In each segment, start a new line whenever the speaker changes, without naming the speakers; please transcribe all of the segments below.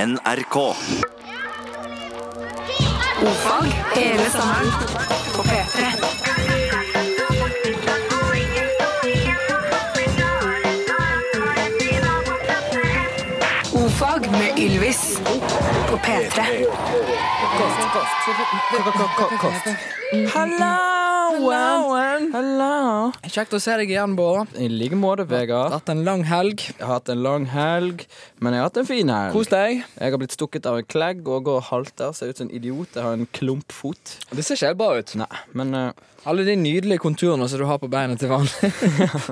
NRK.
Fag hele sommeren på P3. Ofag med Ylvis på P3.
Halloen!
Hallo.
Kjekt å se deg igjen, Bård.
I like måte,
Har
Vegard.
hatt en lang helg.
Jeg har hatt en lang helg, men jeg har hatt en fin helg.
Kos deg.
Jeg har blitt stukket av en klegg og går og halter. Ser ut som en idiot. Jeg har en klumpfot.
Det ser ikke helt bra ut.
Nei, men eh,
Alle de nydelige konturene som du har på beina til vanlig,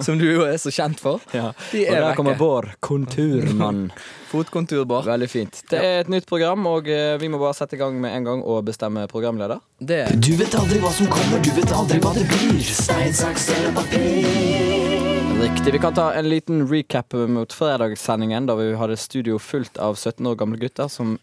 som du jo er så kjent for.
ja.
De
Og
er
der kommer
vekke.
Bård, konturmann.
Fotkontur, Bård.
Veldig fint. Det er et nytt program, og eh, vi må bare sette i gang med en gang og bestemme programleder.
Det
Du vet aldri hva som kommer, du vet aldri hva det blir. Stein, saks eller papir.
Riktig. Vi kan ta en liten recap mot fredagssendingen, da vi hadde studio fullt av 17 år gamle gutter som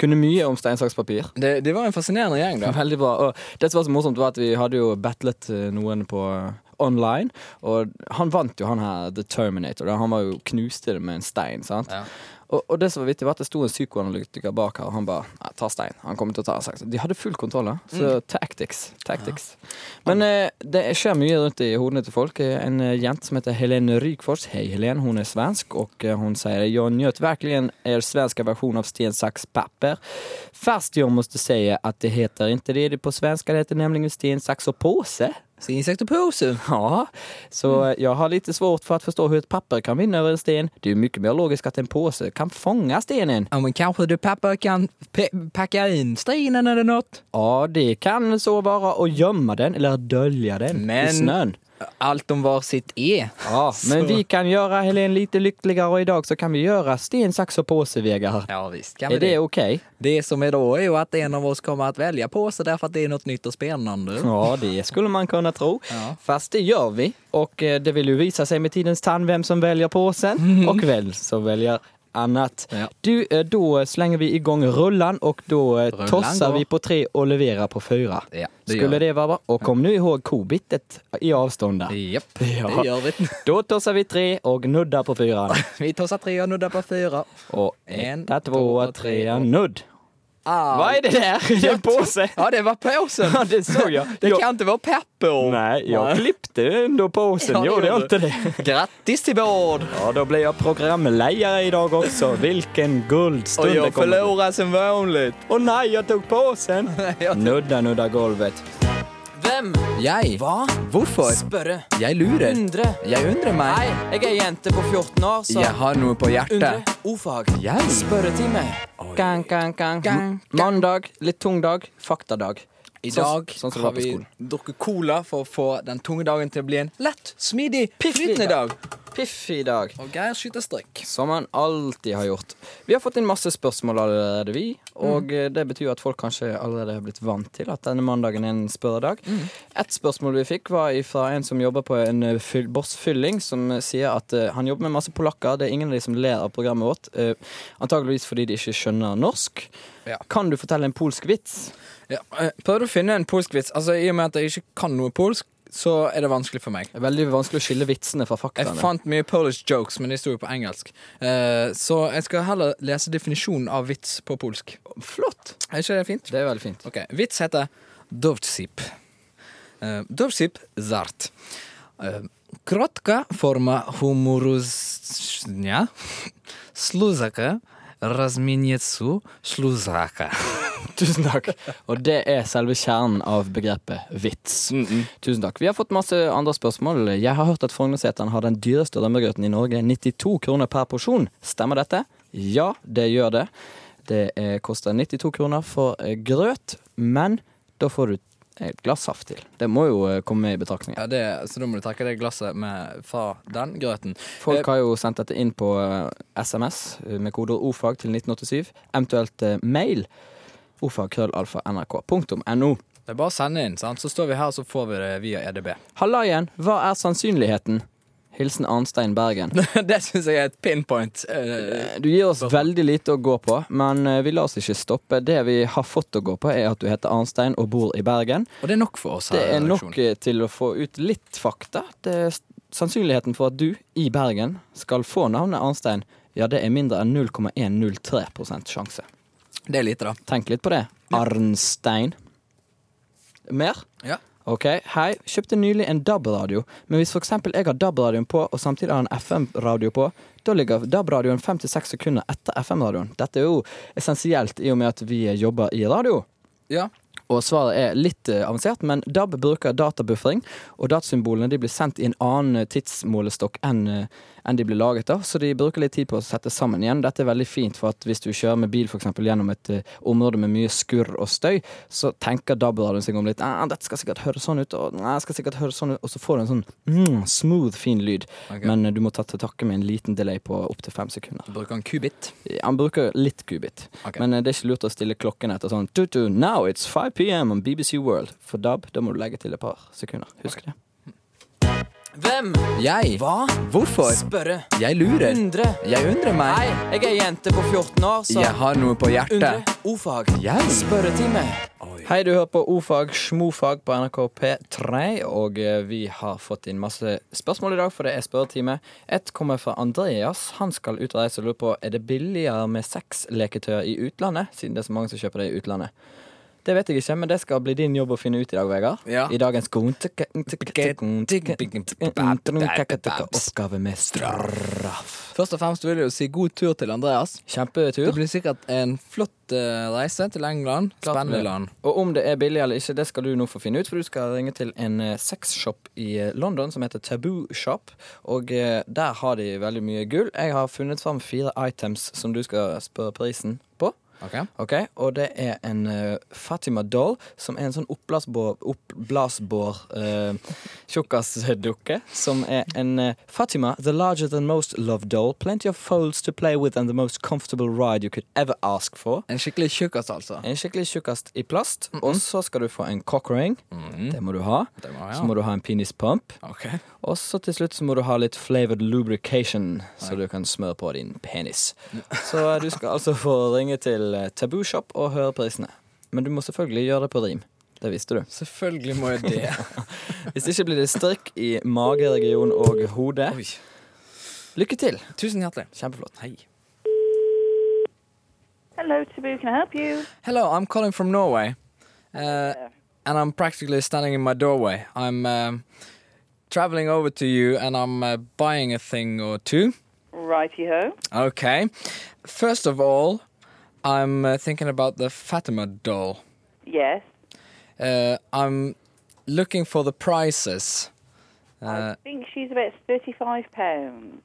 kunne mye om stein, saks, papir.
det, det var en fascinerende gjeng, da.
Veldig bra. Og det som var så morsomt, var at vi hadde jo battlet eh, noen på eh, online, og han vant jo, han her The Terminator. da. Han var jo knuste det med en stein, sant.
Ja.
Og, og det som var vittig, var at det sto en psykoanalytiker bak her, og han bare "Nei, 'ta stein'. Han kommer til å ta en saks. De hadde full kontroll, da. Så tactics. tactics. Men eh, det skjer mye rundt i hodene til folk. Eh, En eh, jente som heter Helene Rygfors, hei Helene, hun er svensk, og eh, hun sier 'Jag njöt verkligen er svenska version av sten, sax, papper'. Fast jag måste säga att det heter inte det på svenska, det heter nämligen sten, sax och påse.
Så Insekt og pose.
Ja, så eh, jag har lite svårt för att förstå hur ett papper kan vinna över en sten. Det är mycket mer logiskt att en påse kan fånga stenen.
Ja, men kanskje du pappa kan pe pakke inn steinen eller noe?
Ja, det kan så vara och gömma den eller dölja den i
Men-
snön.
Alt om hver sitt er.
Ja, men
Så-
vi kan gjøre Helen lite lykkeligere, og i dag så kan vi gjøre sten, saks og pose, Vegard.
Ja visst. Kan
Er det ok?
Det som er da, er jo at en av oss kommer til å velge pose derfor at det er noe nytt og spennende.
Ja, det skulle man kunne tro.
Ja.
Fast det gjør vi, og eh, det vil jo vise seg med tidens tann hvem som velger posen, og hvem som velger annet.
Ja.
Du, eh, da slenger vi i gang rullan, og da eh,
Rullan
tosser
går.
vi på tre og leverer på fyra.
Ja, det
Skulle
gjør
det være bra? Og kom nå ihåg kobittet i avstånd der.
Jepp.
Ja.
Det gjør vi.
Da tosser vi tre og nudder på fyraen.
Vi tosser tre og nudder på fyra.
Og
En,
en, to, tre,
to, tre, og-
nudd.
Ah,
Hva er det der? Det er en pose.
Ja, det var posen.
Ja, det så jeg.
Det
Jeg-
kan ikke være papper.
Nei, jeg klippte under posen.
Ja, det
Gjorde jeg
gjorde
ikke det?
Grattis til Bård!
Ja, da ble jeg programleder i dag også. Hvilken
Og
gullstund
jeg
det kommer til.
forlorer som vanlig.
Å nei, jeg tok posen. Nudda, nudda gulvet. Hvem?
Jeg?
Hva?
Hvorfor?
Spørre.
Jeg lurer. Jeg undrer meg.
jeg er jente på 14 år, så
Jeg har noe på hjertet.
Ordfag.
Jeg?
Spørretime. Gang, gang, gang. Mandag. Litt tung dag. Faktadag.
I dag
sånn, sånn som det
har
var på
vi
skolen.
drukket cola for å få den tunge dagen til å bli en lett, smidig,
Piffig
flytende
dag.
dag.
Piff i dag.
Og Geir skyter strikk.
Som han alltid har gjort. Vi har fått inn masse spørsmål allerede, vi. Og
Mm.
eh, det betyr at folk kanskje allerede har blitt vant til at denne mandagen er en spørredag.
Mm.
Et spørsmål vi fikk, var fra en som jobber på en eh, fyll, Boss Fylling, som eh, sier at eh, han jobber med masse polakker. Det er ingen av de som ler av programmet vårt. eh, antageligvis fordi de ikke skjønner norsk.
Ja.
Kan du fortelle en polsk vits?
Ja, eh, prøvde å finne en polsk vits. Altså, I og med at jeg ikke kan noe polsk, så er det vanskelig for meg.
Det er veldig vanskelig å skille vitsene fra
Jeg
faktaene.
fant mye Polish jokes, men de sto jo på engelsk. Eh, så jeg skal heller lese definisjonen av vits på polsk.
Flott!
Er ikke det fint?
Det er veldig fint.
Ok, Vits heter dovsip. Eh, Dovsip zart. Eh, Krotka forma humorusnia sluzaka razminiecu sluzaka.
Tusen takk. Og det er selve kjernen av begrepet vits. Tusen takk. Vi har fått masse andre spørsmål. Jeg har hørt at Frognerseteren har den dyreste rømmegrøten i Norge. 92 kroner per porsjon. Stemmer dette? Ja, det gjør det. Det eh, koster 92 kroner for eh, grøt, men da får du et glass saft til. Det må jo eh, komme i betraktning.
Ja, det, så da må du trekke det glasset med, fra den grøten. Eh,
Folk har jo sendt dette inn på eh, SMS eh, med kodeord ordfag til 1987, eventuelt eh, mail ordfagkrøllalfa.nrk.no.
Det er bare å sende inn, sant? så står vi her så får vi det via E EDB.
Hallaien, hva er sannsynligheten? Hilsen Arnstein Bergen.
det syns jeg er et pinpoint. eh,
Du gir oss veldig lite å gå på, men eh, vi lar oss ikke stoppe. Det vi har fått å gå på, er at du heter Arnstein og bor i Bergen.
og det er nok for oss her.
Det
i
er nok
redaksjonen.
eh, til å få ut litt fakta. Det er s- sannsynligheten for at du, i Bergen, skal få navnet Arnstein, Ja, det er mindre enn 0,103 sjanse.
Det er lite, da.
Tenk litt på det. Arnstein. Mer?
Ja.
Ok, hei. Kjøpte nylig en DAB-radio, men hvis f.eks. jeg har DAB-radioen på, og samtidig har en FM-radio på, da ligger DAB-radioen fem til seks sekunder etter FM-radioen. Dette er jo essensielt i og med at vi jobber i radio.
Ja.
Og svaret er litt eh, avansert, men DAB bruker databuffering, og datasymbolene de blir sendt i en annen eh, tidsmålestokk enn eh, enn de blir laget av, så de bruker litt tid på å sette sammen igjen. Dette er veldig fint, for at hvis du kjører med bil for eksempel, gjennom et eh, område med mye skurr og støy, så tenker DAB-radioen seg om litt «Ah, 'Dette skal sikkert høres sånn ut', og «Nei, det skal sikkert høres sånn ut', og så får du en sånn mm, smooth, fin lyd.
Ok.
Men eh, du må ta til takke med en liten delay på opptil fem sekunder.
Bruker han kubit?
Han bruker litt kubit,
Ok.
men eh, det er ikke lurt å stille klokken etter sånn «Tutu, Now it's 5 pm on BBC World. For DAB, da må du legge til et par sekunder. Husk det.
Hvem?
Jeg.
Hva?
Hvorfor?
Spørre.
Jeg lurer.
Undre.
Jeg undrer meg.
Hei, jeg er jente på 14 år, så
Jeg har noe på
Undre.
hjertet.
O-fag.
Jeg.
Spørretime.
Hei, du hører på O-fag, Schmofag på NRK P3, og eh, vi har fått inn masse spørsmål i dag, for det er spørretime. Ett kommer fra Andreas. Han skal ut og reise og lurer på er det billigere med sexleketøy i utlandet, siden det er så mange som kjøper det i utlandet. Det vet jeg ikke, men det skal bli din jobb å finne ut i dag, Vegard.
Ja.
I dagens oppgave med straff.
Først og fremst vil jeg jo si god tur til Andreas. Det
Kjempetur.
blir sikkert en flott eh, reise til England.
Klart det blir.
Spennende land.
Og om det er billig eller ikke, det skal du nå få finne ut, for du skal ringe til en eh, sexshop i eh, London som heter Taboo Shop, og eh, der har de veldig mye gull. Jeg har funnet fram fire items som du skal spørre prisen på.
Ok?
Ok, Og det er en eh, Fatima Doll, som er en sånn oppblasbår, oppblasbår eh, tjukkasdukke. Som er en eh, Fatima, the larger than most love doll. Plenty of folds to play with and the most comfortable ride you could ever ask for.
En skikkelig tjukkas, altså.
En skikkelig tjukkast i plast, og så skal du få en cockring. Det må du ha.
Mm. Det må jeg
Så
ha.
må du ha en penispump.
Ok.
Og så til slutt så må du ha litt flavored lubrication, så du kan smøre på din penis. Så du skal altså få ringe til eh, Taboo Shop og høre prisene. Men du må selvfølgelig gjøre det på rim. Det visste du.
Selvfølgelig må jeg det.
Hvis ikke blir det strikk i mageregion og hode.
Oi.
Lykke til.
Tusen hjertelig.
Kjempeflott. Hei.
Hello, Taboo. Can I help you?
Hello, I'm calling from Norway, uh, and I'm practically standing in my doorway. I'm um, traveling over to you, and I'm uh, buying a thing or two.
Righty ho.
Okay. First of all, I'm uh, thinking about the Fatima doll.
Yes.
Uh, I'm looking for the prices.
I think she's about thirty-five pounds.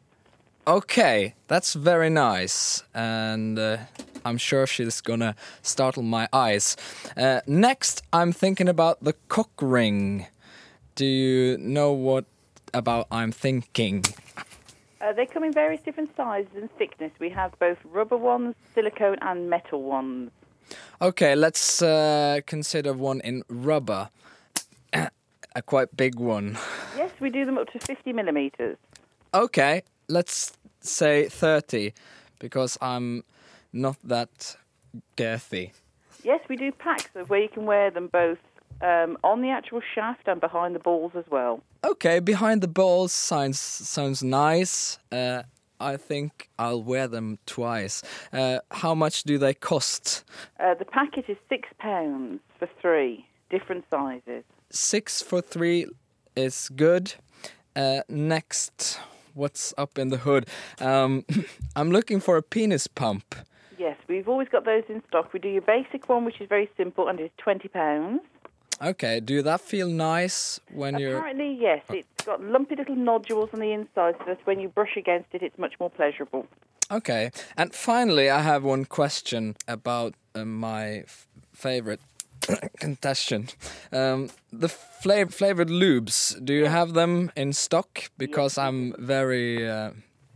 Okay, that's very nice, and uh, I'm sure she's gonna startle my eyes. Uh, next, I'm thinking about the cock ring. Do you know what about I'm thinking?
Uh, they come in various different sizes and thickness. We have both rubber ones, silicone, and metal ones.
Okay, let's uh, consider one in rubber. A quite big one.
Yes, we do them up to fifty millimeters.
Okay, let's say 30, because I'm not that girthy.
Yes, we do packs of where you can wear them both um, on the actual shaft and behind the balls as well.
Okay, behind the balls sounds sounds nice. Uh, I think I'll wear them twice. Uh, how much do they cost?
Uh, the packet is six pounds for three different sizes.
Six for three is good. Uh, next, what's up in the hood? Um, I'm looking for a penis pump.
Yes, we've always got those in stock. We do your basic one, which is very simple and is twenty pounds.
Okay, do that feel nice when you're? Uh.
Apparently, yes. It's got lumpy little nodules on the inside, so that when you brush against it, it's much more pleasurable.
Okay, and finally, I have one question about uh, my f- favorite contestant. Um, the flav- flavored lubes, do you have them in stock? Because I'm very. Uh,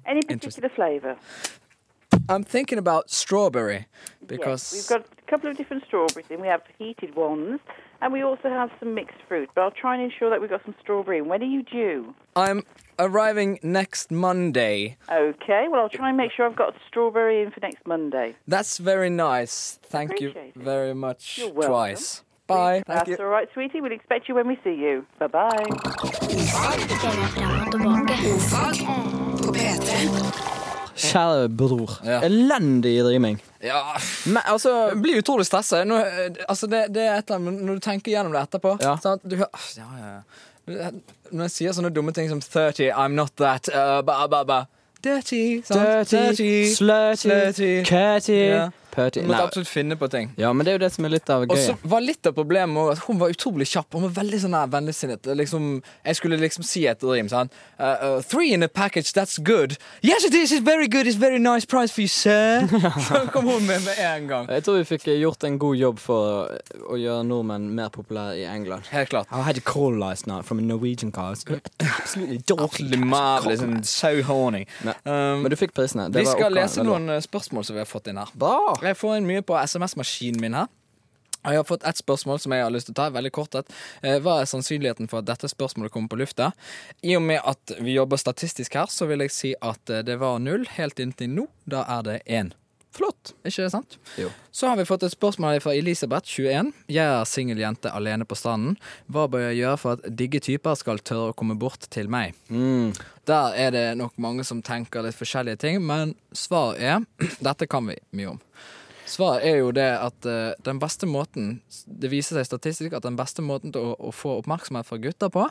Any
Interesting.
particular flavour?
I'm thinking about strawberry because.
Yes. We've got a couple of different strawberries in. We have heated ones, and we also have some mixed fruit. But I'll try and ensure that we've got some strawberry in. When are you due?
I'm arriving next Monday.
Okay, well, I'll try and make sure I've got strawberry in for next Monday.
That's very nice. Thank you
Appreciate it.
very much.
You're welcome.
Twice. Bye. Thank
That's
you.
all right, sweetie. We'll expect you when we see you. Bye bye.
Dere er fram og tilbake.
På P3.
Kjære bror.
Ja.
Elendig riming.
Ja,
Men altså
Jeg blir utrolig stressa. Nå, eh, altså det, det er et eller annet, men når du tenker gjennom det etterpå
Ja.
sånn at du, hører- ah, ja, ja, ja. Når jeg sier sånne dumme ting som 30, I'm not that, uh, ba, ba, ba. Dirty. Sant?
Dirty, slutty,
slutty.
catty,
Ja.
putty
Du
Nei.
måtte absolutt finne på ting.
Ja, men det er jo det som er litt av
Og så
gøy.
var litt av problemet også at hun var utrolig kjapp. Hun var veldig sånn her vennligsinnet. Liksom, jeg skulle liksom si et rim. Sånn. Uh, uh, three in a package, that's good. Yes, it is, it's very good, it's very nice price for you, sir. Så kom hun med med en gang.
Jeg tror vi fikk eh, gjort en god jobb for å- å gjøre nordmenn mer populære i England.
Helt klart.
I had a cold last night from a Norwegian car. It's Absolutely
Ordentlig
dorklig.
mad, liksom, so horny.
Nei.
Um,
Men du fikk prisene. Det
vi
var
skal
oppgaven,
lese
det var-
noen eh, spørsmål som vi har fått inn her.
Bra!
Jeg får inn mye på SMS-maskinen min her. Og Jeg har fått ett spørsmål som jeg har lyst til å ta. veldig kort et. Eh, Hva er sannsynligheten for at dette spørsmålet kommer på lufta? I og med at vi jobber statistisk her, så vil jeg si at eh, det var null helt inntil nå. Da er det én. Flott. Ikke det sant?
Jo.
Så har vi fått et spørsmål fra Elisabeth, 21. Jeg er singel jente alene på stranden. Hva bør jeg gjøre for at digge typer skal tørre å komme bort til meg? Der er det nok mange som tenker litt forskjellige ting, men svaret er Dette kan vi mye om. Svaret er jo det at eh, den beste måten Det viser seg statistisk at den beste måten til å, å få oppmerksomhet fra gutter på,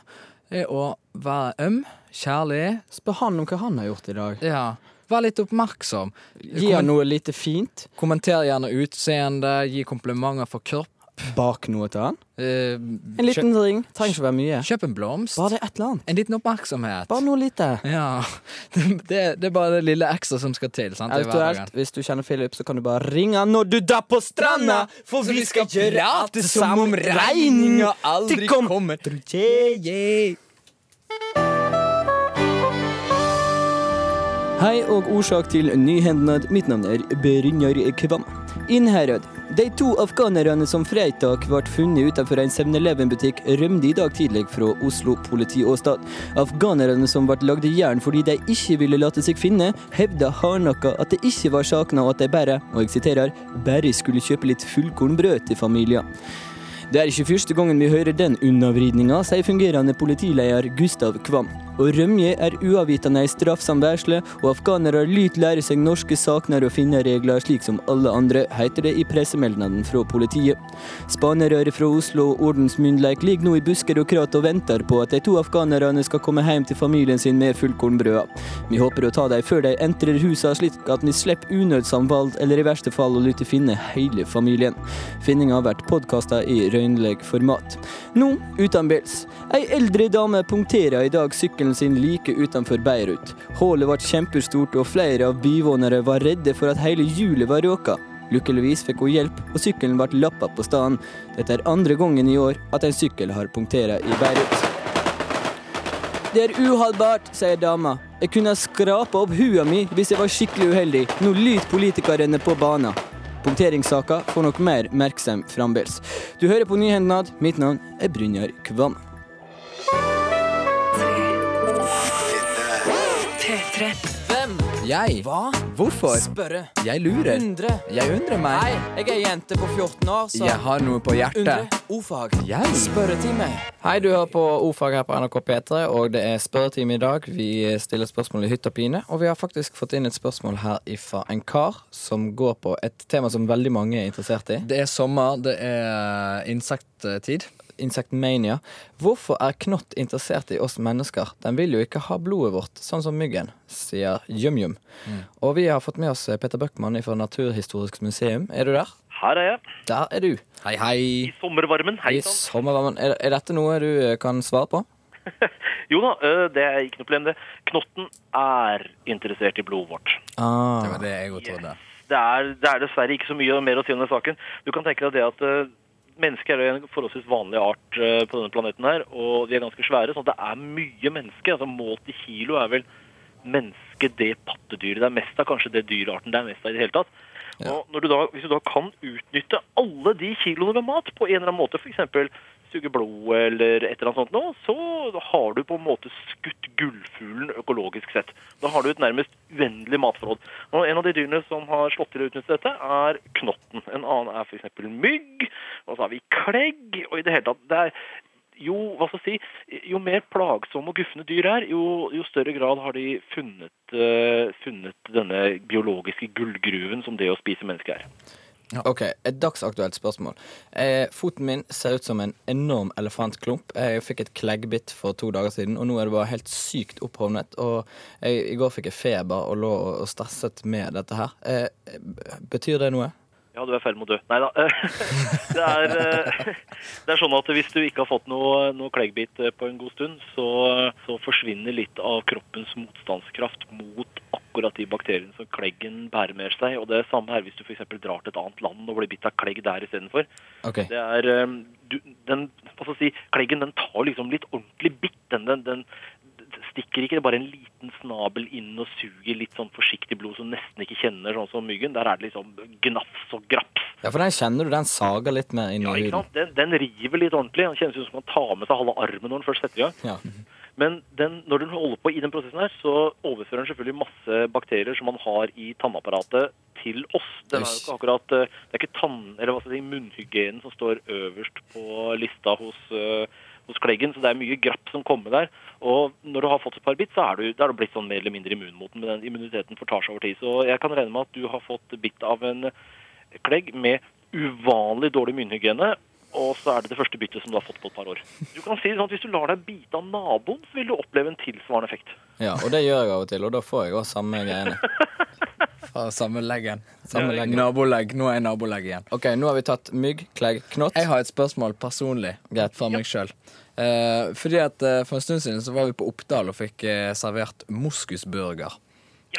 er å være øm, kjærlig,
Spør han om hva han har gjort i dag.
ja, være litt oppmerksom.
Gi han noe lite fint.
Kommenter gjerne utseende, gi komplimenter for kropp.
Bak noe til han.
eh,
En liten ring. Trenger ikke være mye.
kjøp, kjøp en blomst.
Bare det et eller annet.
En liten oppmerksomhet.
Bare noe lite.
Ja. Det, det, det er bare det lille ekstra som skal til. sant? i hverdagen.
Eventuelt, hvis du kjenner Philip, så kan du bare ringe han når du der på stranda, for
Så
vi
vi
skal
skal
gjøre alt
prate som
sammen.
om regninga aldri
til
kommer.
Yeah, yeah. Hei og årsak til nyhendnad. Mitt navn er Brynjar Kvam. Innherred. De to afghanerne som fredag ble funnet utenfor en 7-Eleven-butikk, rømte i dag tidlig fra Oslo politiåstad. Afghanerne som ble lagd i jern fordi de ikke ville late seg finne, hevda hardnakka at det ikke var sakna, og at de bare, og jeg siterer, bare skulle kjøpe litt fullkornbrød til familien. Det er ikke første gangen vi hører den unnavridninga, sier fungerende politileder Gustav Kvam. Å rømme er uavvitende ei straffsom værsle, og afghanere lyt lære seg norske sakner og finne regler slik som alle andre, heter det i pressemeldnaden fra politiet. Spanerøret fra Oslo og ordensmyndighet ligger nå i busker og krat og venter på at de to afghanerne skal komme hjem til familien sin med fullkornbrøda. Vi håper å ta dem før de entrer husa, slik at vi slipper unødsom vold, eller i verste fall å lytte finne hele familien. Finninga har vært podkasta i røynleg format. Nå utenbils. Ei eldre dame punkterer i dag sykkelen sin like utenfor Beirut. Hullet ble kjempestort, og flere av bivånere var redde for at hele hjulet var råka. Lykkeligvis fikk hun hjelp, og sykkelen ble lappa på staden. Dette er andre gangen i år at en sykkel har punktert i Beirut. Det er uholdbart, sier dama. Jeg kunne ha skrapa opp hua mi hvis jeg var skikkelig uheldig. Nå lyter politikerne på bana. Punkteringssaka får nok mer merksem fremdeles. Du hører på Nyhendnad. Mitt navn er Brynjar Kvam.
P3.
Hvem?
Jeg?
Hva?
Hvorfor?
Spørre.
Jeg lurer.
Undre.
Jeg undrer meg.
Nei, jeg er jente på 14 år, så
Jeg har noe på
Undre.
hjertet.
Ordfag.
Jeg?
Spørretime.
Hei, du hører på Ordfag her på NRK P3, og det er spørretime i dag. Vi stiller spørsmål i hytt og pine, og vi har faktisk fått inn et spørsmål her fra en kar som går på et tema som veldig mange er interessert i.
Det er sommer, det er eh, insekttid.
Insectmania. Hvorfor er knott interessert i oss mennesker? Den vil jo ikke ha blodet vårt, sånn som myggen, sier Jum-Jum. Og vi har fått med oss eh, Peter Bøckmann fra Naturhistorisk museum. Er du der?
Her er jeg.
Der er du.
Hei, hei.
I sommervarmen. Hei
I
sann.
sommervarmen. Er, er dette noe du eh, kan svare på?
Jo da, ø, det er ikke noe problem, det. Knotten er interessert i blodet vårt.
Ah.
Det var det jeg jo trodde.
Det er, det er dessverre ikke så mye mer å si om den saken. Du kan tenke deg det at ø, mennesker er jo en forholdsvis vanlig art ø, på denne planeten her, og de er ganske svære, sånn at det er mye menneske. Altså målt i kilo er vel mennesket det pattedyret det er mest av, kanskje det dyrearten det er mest av i det hele tatt. Og når du da, hvis du da kan utnytte alle de kiloene med mat på en eller annen måte, f.eks. suge blod eller et eller annet sånt nå, så har du på en måte skutt gullfuglen økologisk sett. Da har du et nærmest uendelig matforråd. Og en av de dyrene som har slått til å utnytte dette, er knotten. En annen er f.eks. mygg, og så har vi klegg, og i det hele tatt det er jo, hva skal jeg si, jo mer plagsomme og gufne dyr er, jo, jo større grad har de funnet, eh, funnet denne biologiske gullgruven som det å spise mennesker er.
Ok, Et dagsaktuelt spørsmål. Eh, foten min ser ut som en enorm elefantklump. Jeg fikk et kleggbitt for to dager siden, og nå er det bare helt sykt opphovnet. Og jeg, I går fikk jeg feber og lå og og stresset med dette her. Eh, betyr det noe?
Ja, du er i ferd med å dø. Nei da. Det er, eh, det er sånn at hvis du ikke har fått noe, noe kleggbit eh, på en god stund, så, så forsvinner litt av kroppens motstandskraft mot akkurat de bakteriene som kleggen bærer med seg. Og det er samme her hvis du f.eks. drar til et annet land og blir bitt av klegg der istedenfor.
Ok,
Det er eh, du, den, hva skal jeg si, Kleggen den tar liksom litt ordentlig bitt. Den, den, den stikker ikke bare en liten snabel inn og suger litt sånn forsiktig blod som du nesten ikke kjenner, sånn som myggen. Der er det liksom gnafs og graps.
Ja, For den kjenner du, den sager litt mer inn i
Ja, ikke
huden.
sant? Den, den river litt ordentlig. Den kjennes ut som man tar med seg halve armen når den først setter i gang.
Ja.
Men den, når den holder på i den prosessen her, så overfører den selvfølgelig masse bakterier som man har i tannapparatet til oss. Den er jo ikke akkurat, eh, det er ikke tann, eller hva skal jeg si, munnhygienen som står øverst på lista hos, eh, hos kleggen, så det er mye grapp som kommer der. Og når du har fått et par bitt, så er du, da er du blitt sånn mer eller mindre immun mot den, men den immuniteten fortar seg over tid. Så jeg kan regne med at du har fått bitt av en klegg med uvanlig dårlig munnhygiene, og så er det det første byttet som du har fått på et par år. Du kan si det sånn at Hvis du lar deg bite av naboen, så vil du oppleve en tilsvarende effekt.
ja, Og det gjør jeg av og til, og da får jeg òg samme greiene.
Fra samme leggen.
Samme leggen.
Nabolegg. Nå er jeg nabolegg igjen.
Ok, Nå har vi tatt mygg, klegg, knott.
Jeg har et spørsmål personlig
Greit.
fra meg sjøl. Eh, fordi at eh, For en stund siden så var vi på Oppdal og fikk eh, servert moskusburger.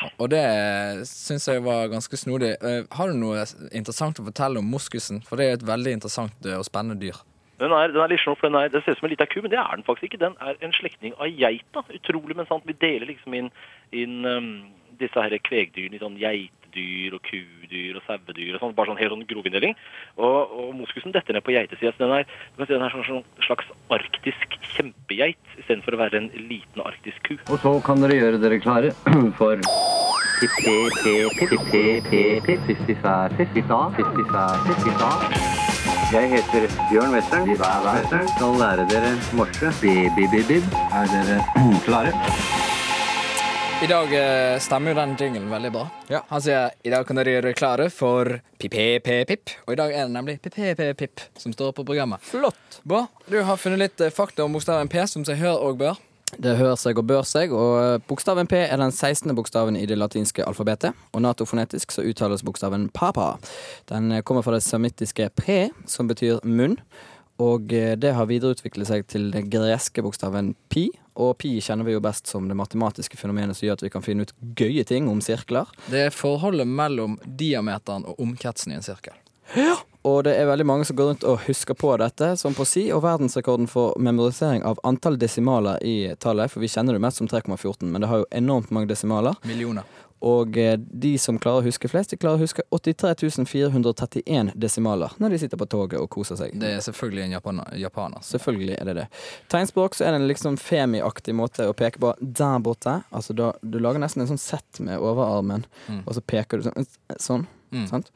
Ja.
Og det syns jeg var ganske snodig. Eh, har du noe interessant å fortelle om moskusen? For det er et veldig interessant eh, og spennende dyr.
Den er, den er litt snopp, for den, er, den ser ut som en liten ku, men det er den faktisk ikke. Den er en slektning av geita. Utrolig, men sant. Vi deler liksom inn, inn um, disse her kvegdyrene i sånn geitedyr og kudyr og sauedyr og sånn. Bare sånn helt sånn grovinndeling. Og, og moskusen detter ned på geitesida. Så den er, du kan si den er sånn, sånn slags arktisk kjempegeit istedenfor å være en liten arktisk ku.
Og så kan dere gjøre dere klare for Jeg heter Bjørn Western. Western. Skal lære dere morse. Bi-bi-bi-bib. Er dere klare?
I dag eh, stemmer jo den jinglen veldig bra.
Ja.
Han sier i dag kan dere gjøre dere klare for pip-pip-pip. Og i dag er det nemlig pip-pip-pip som står på programmet.
Flott.
Bra. Du har funnet litt eh, fakta om bokstaven P, som seg hør og bør.
Det hører seg og bør seg, og eh, bokstaven P er den 16. bokstaven i det latinske alfabetet, og natofonetisk så uttales bokstaven papa. Den eh, kommer fra det samittiske pre, som betyr munn, og eh, det har videreutviklet seg til den greske bokstaven pi, og pi kjenner vi jo best som det matematiske fenomenet som gjør at vi kan finne ut gøye ting om sirkler.
Det er forholdet mellom diameteren og omkretsen i en sirkel.
Og det er veldig mange som går rundt og husker på dette, som på si, og verdensrekorden for memorisering av antall desimaler i tallet, for vi kjenner det mest som 3,14, men det har jo enormt mange desimaler.
Millioner.
Og eh, de som klarer å huske flest, de klarer å huske 83 431 desimaler når de sitter på toget og koser seg.
Det er selvfølgelig en japaner. japaner. Så
Selvfølgelig er det det. Tegnspråk så er det en liksom femiaktig måte å peke på der borte. Altså da, Du lager nesten en sånn sett med overarmen, og så peker du sånn. sånn sant?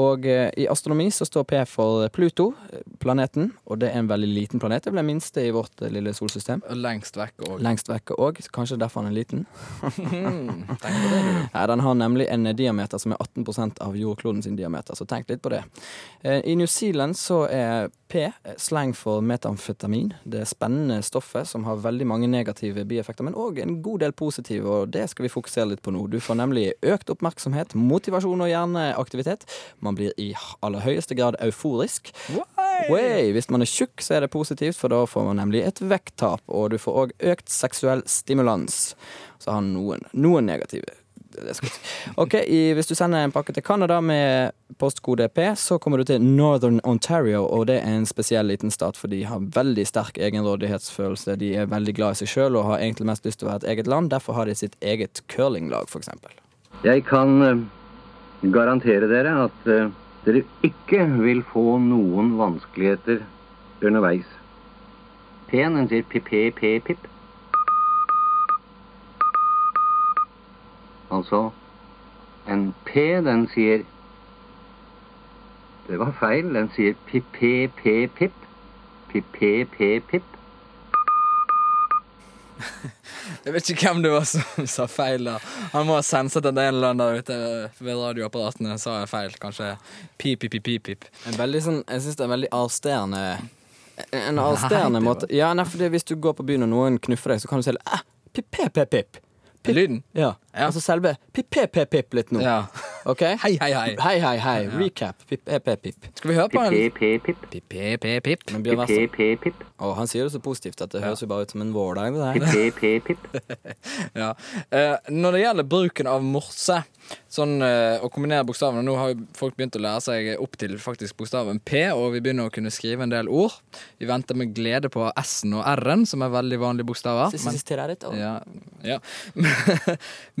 Og eh, i astronomi så står P for Pluto, eh, planeten, og det er en veldig liten planet. Det er vel den minste i vårt eh, lille solsystem.
Lengst vekk og
Lengst vekke òg. Kanskje derfor han er liten. Nei, den har nemlig en eh, diameter som er 18 av jordkloden sin diameter, så tenk litt på det. Eh, I New Zealand så er P slang for metamfetamin. Det spennende stoffet som har veldig mange negative bieffekter, men òg en god del positive, og det skal vi fokusere litt på nå. Du får nemlig økt oppmerksomhet, motivasjon og hjerneaktivitet. Man blir i aller høyeste grad euforisk. Way! Hvis man er tjukk, så er det positivt, for da får man nemlig et vekttap. Og du får òg økt seksuell stimulans. Så har han noen, noen negative. Det skal jeg si. Ok, i, Hvis du sender en pakke til Canada med postkode P, så kommer du til Northern Ontario, og det er en spesiell liten stat, for de har veldig sterk egenrådighetsfølelse. De er veldig glad i seg sjøl og har egentlig mest lyst til å være et eget land. Derfor har de sitt eget curlinglag, for eksempel.
Jeg kan eh, garantere dere at eh, dere ikke vil få noen vanskeligheter underveis. P-en, den sier pip-pip-pip. Altså, en P, den sier Det var feil. Den sier pip-pip-pip. Pip-pip-pip.
Jeg vet ikke hvem det var som sa feil der. Han må ha senset at det er en eller annen der ute eh, ved radioapparatene sa jeg feil. Kanskje pip, pip, pip, pip, pip.
En veldig sånn, jeg syns det er en veldig arresterende En en arresterende måte Ja, nei, fordi Hvis du går på byen og noen knuffer deg, så kan du si eh, pip-pip-pip.
Lyden.
Ja.
Ja.
Altså selve pip-pip-pip litt nå.
Ja.
OK?
Hei, hei, hei.
Hei, hei, hei. Recap. Pip-pip-pip.
Skal vi høre på den?
Pip-pip-pip.
Pip, pip, pip, pip.
Men Bjørn Wessel
Pip-pip-pip.
Å, han sier det så positivt at det høres jo bare ut som en vårdag. Det her.
Pip-pip-pip.
Ja. Eh, når det gjelder bruken av morse, sånn eh, å kombinere bokstavene Nå har jo folk begynt å lære seg opp til faktisk bokstaven P, og vi begynner å kunne skrive en del ord. Vi venter med glede på S-en og R-en, som er veldig vanlige bokstaver.
Siste-
men-
siste er det, å.
Ja, ja.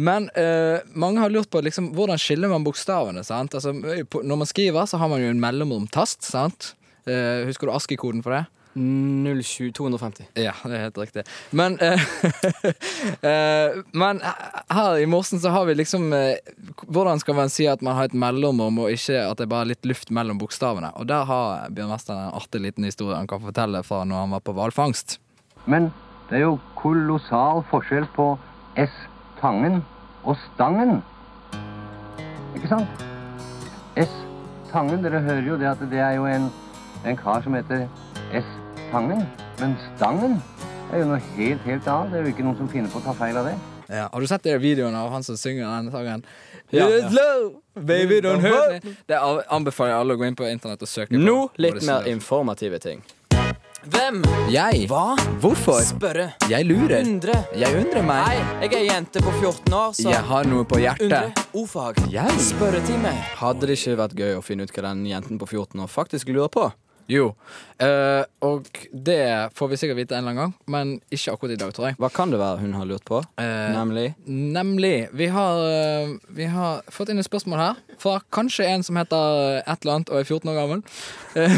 Men eh, mange har lurt på liksom, hvordan skiller man bokstavene. Sant? Altså, på- når man skriver, så har man jo en mellomromtast. Sant? Eh, husker du ASKI-koden for det?
0,7 250.
Ja, det er helt riktig. Men, eh, eh, men her i Morsen så har vi liksom eh, Hvordan skal man si at man har et mellomrom, og ikke at det er bare litt luft mellom bokstavene? Og der har Bjørn Western en artig liten historie han kan fortelle fra når han var på hvalfangst.
Men det er jo kolossal forskjell på S-tangen og stangen. Ikke sant? S-tangen, dere hører jo det at det er jo en, en kar som heter S-tangen. Men stangen er jo noe helt, helt annet. Det er jo ikke noen som finner på å ta feil av det.
Ja, har du sett de videoene av han som synger den sangen?
Ja,
It's low, baby
Don't
don't hurt me Det a- anbefaler jeg alle å gå inn på internett og søke
Nå
på.
litt mer informative ting.
Hvem?
Jeg?
Hva?
Hvorfor?
Spørre.
Jeg lurer.
Undre.
Jeg undrer
Hei,
meg.
jeg er jente på 14 år, så
Jeg har noe på
Undre.
hjertet.
Ordfag.
Jeg?
Spørretime.
Hadde det ikke vært gøy å finne ut hva den jenten på 14 år faktisk lurer på?
Jo. Eh, og det får vi sikkert vite en eller annen gang, men ikke akkurat i dag, tror jeg.
Hva kan det være hun har lurt på?
Eh,
Nemlig
Nemlig. Vi har, eh, vi har fått inn et spørsmål her fra kanskje en som heter eh, et eller annet og er 14 år gammel. Eh,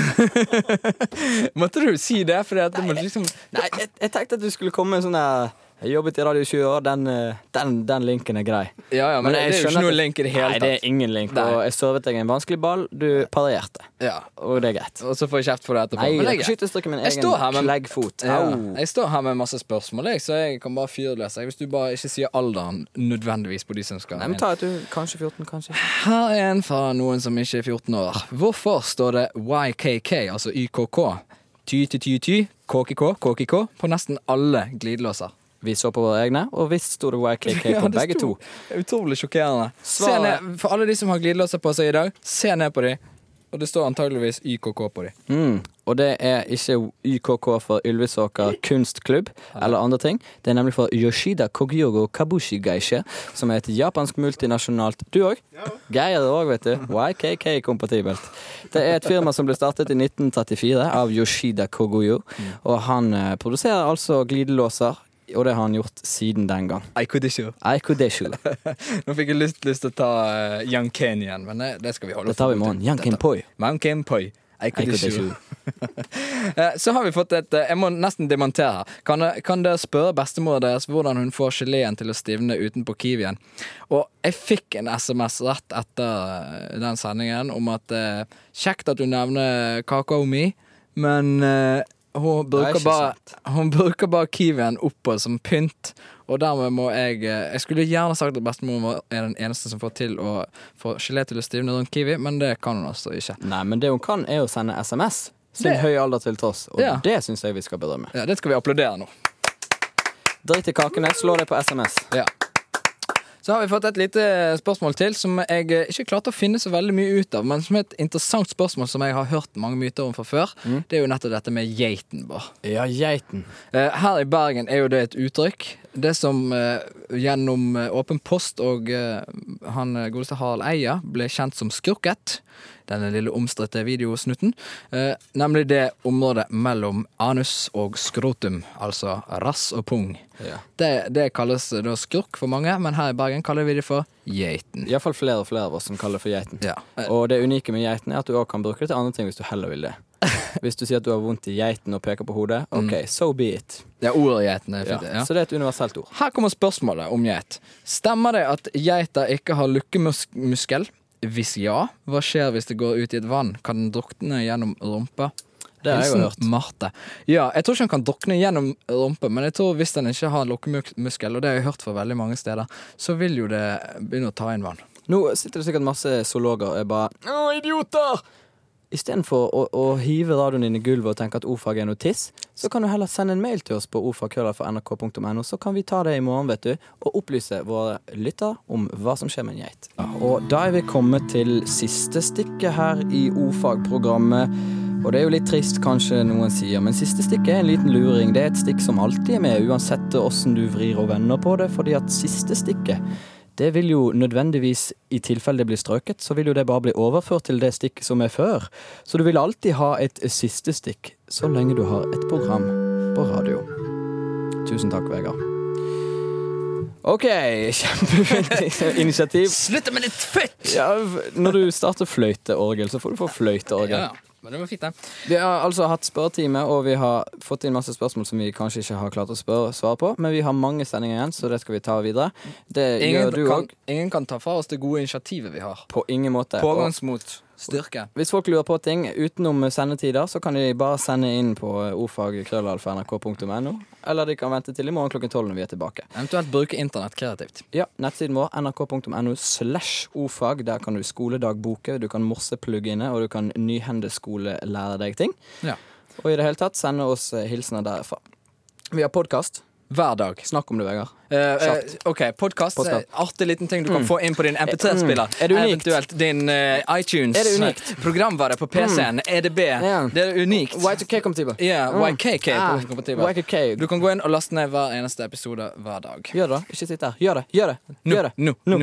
Måtte du si det? Fordi at det må liksom
Nei, jeg, jeg tenkte at du skulle komme med en sånn der Jeg jobbet i Radio 20 år, den, eh, den, den linken er grei.
Ja, ja, men, det er jo ikke noe link i det hele
Nei, det
tatt.
er ingen link.
Nei.
Og jeg servet deg en vanskelig ball, du parerte.
Ja.
Og det er greit.
Og så får jeg kjeft for det etterpå.
Nei,
Men det er
jeg
greit.
kan ikke strikke min
Jeg står her
egen
med-
kleggfot.
Ja.
Au.
Jeg står her med masse spørsmål, jeg, så jeg kan bare fyre løs. jeg, Hvis du bare ikke sier alderen nødvendigvis på de som skal
Nei, men ta et du, kanskje 14, kanskje.
Her er en fra noen som ikke er 14 år. Hvorfor står det YKK, altså YKK, ty ty ty ty, KKK, KKK, på nesten alle glidelåser?
Vi så på våre egne, og visst sto det YKK på
det
begge
sto-
to.
Utrolig sjokkerende. Se
Svaret-
ned, for alle de som har glidelåser på seg i dag, se ned på de. Og det står antageligvis YKK på de.
Mm. Og det er ikke YKK for Ylvisåker kunstklubb eller andre ting. Det er nemlig for Yoshida Kogyogo Kabushi Geishe, som er et japansk multinasjonalt Du òg? Geir òg, vet du. YKK-kompatibelt. Det er et firma som ble startet i 1934 av Yoshida Kogoyo,
Mm.
og han eh, produserer altså glidelåser. Og det har han gjort siden den gang.
I could issue.
Aikodeshu.
Nå fikk jeg lyst, lyst til å ta eh, Young Ken igjen, men eh, det, det skal vi holde
Det tar vi i
for god
morgen.
til.
Yankin
Dette-
Poi.
Mount Game Poi.
Aikodeshu.
Eh, Så har vi fått et eh, Jeg må nesten dementere her. Kan, dere- kan dere spørre bestemora deres hvordan hun får geleen til å stivne utenpå kiwien? Og jeg fikk en SMS rett etter eh, den sendingen om at eh, Kjekt at du nevner kakao mi, men eh, hun
er
bruker
ikke
bare Hun bruker bare kiwien oppå som pynt. Og dermed må jeg eh, Jeg skulle gjerne sagt at bestemoren vår er den eneste som får til å få gelé til å stivne rundt kiwi, men det kan hun altså ikke.
Nei, men det hun kan, er å sende SMS. Sin
Det-
høye alder til tross. Og
Ja.
det syns jeg vi skal bedømme.
Ja, det skal vi applaudere nå.
Drit i kakene, slå deg på SMS.
Ja. Så har vi fått et lite spørsmål til som jeg eh, ikke klarte å finne så veldig mye ut av, men som er et interessant spørsmål som jeg har hørt mange myter om fra før. Det er jo nettopp dette med geiten, Bård.
Ja, geiten.
Eh, Her i Bergen er jo det et uttrykk. Det som eh, gjennom eh, Åpen post og eh, han eh, godeste Harald Eia ble kjent som Skrukket. Denne lille omstridte videosnutten. Eh, nemlig det området mellom anus og skrotum, altså rass og pung.
Ja.
Det, det kalles eh, da skurk for mange, men her i Bergen kaller vi det for geiten.
Iallfall flere og flere av oss som kaller det for geiten.
Ja. Eh,
Og det unike med geiten er at du òg kan bruke det til andre ting hvis du heller vil det. Hvis du sier at du har vondt i geiten og peker på hodet, OK, so be it.
Ja, ordet geiten er
Ja.
Mm. fint. Ja.
Så det er et universelt ord.
Her kommer spørsmålet om geit. Stemmer det at geita ikke har lukkemuskel? Hvis ja, hva skjer hvis det går ut i et vann? Kan den drukne gjennom rumpa?
Det har jeg jo
Hilsen
hørt.
Marte. Ja, jeg tror ikke han kan drukne gjennom rumpe, men jeg tror hvis han ikke har lukkemuskel, og det har jeg hørt fra veldig mange steder, så vil jo det begynne å ta inn vann.
Nå sitter det sikkert masse zoologer og er bare
Å, idioter!
Istedenfor å, å hive radioen din i gulvet og tenke at ordfag er noe tiss, så kan du heller sende en mail til oss på ordfagkøller.nrk.no, så kan vi ta det i morgen, vet du, og opplyse våre lytter om hva som skjer med en geit. Og da er vi kommet til siste stikket her i ordfagprogrammet. Og det er jo litt trist, kanskje noen sier, men siste stikket er en liten luring. Det er et stikk som alltid er med, uansett åssen du vrir og vender på det, fordi at siste stikket det vil jo nødvendigvis, i tilfelle det blir strøket, så vil jo det bare bli overført til det stikket som er før. Så du vil alltid ha et siste stikk, så lenge du har et program på radio. Tusen takk, Vegard. OK, kjempefint initiativ.
Slutt med litt fett!
Ja, når du starter fløyteorgel, så får du få fløyteorgel.
Ja, men det var fint, det.
Vi har altså hatt spørretime, og vi har fått inn masse spørsmål som vi kanskje ikke har klart å spørre, svare på, men vi har mange sendinger igjen, så det skal vi ta videre. Det
Ingen,
gjør du
kan,
òg.
ingen kan ta fra oss det gode initiativet vi har.
På ingen måte. Og-
Pågangsmot. Styrke.
Hvis folk lurer på ting utenom sendetider, så kan de bare sende inn på eh, ordfagkrøllalfa.nrk.no, eller de kan vente til i morgen klokken tolv når vi er tilbake.
Eventuelt bruke internett kreativt.
Ja, nettsiden vår nrk.no slash ordfag. Der kan du skoledagboke, du kan morseplugge inne, og du kan nyhendeskole lære deg ting.
Ja.
Og i det hele tatt, sende oss eh, hilsener derfra. Vi har podkast.
Hver dag.
Snakk om det, Vegard.
Eh, eh,
Kjapt.
ok, podkast.
Podcast.
Artig liten ting du kan få inn på din MP3-spiller.
Mm. Er det unikt?
Eventuelt din eh, iTunes.
Er det unikt? Mm.
Programvare på PC-en. EDB.
Ja.
Det er unikt.
Y2K-kompatibel.
Ja,
Mm.
YKK.
Ah,
kompatibel.
YKK.
Du kan gå inn og laste ned hver eneste episode hver dag.
Gjør det, da. Ikke sitt der. Gjør det. Gjør det. Gjør det.
no, no.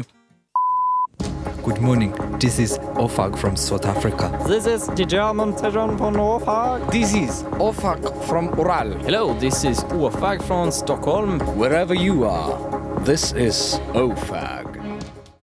Good morning. This is Ofag from South Africa.
This is the German session for Norfag.
This is Ofag from Ural.
Hello, this is Ofag from Stockholm.
Wherever you are, this is Ofag.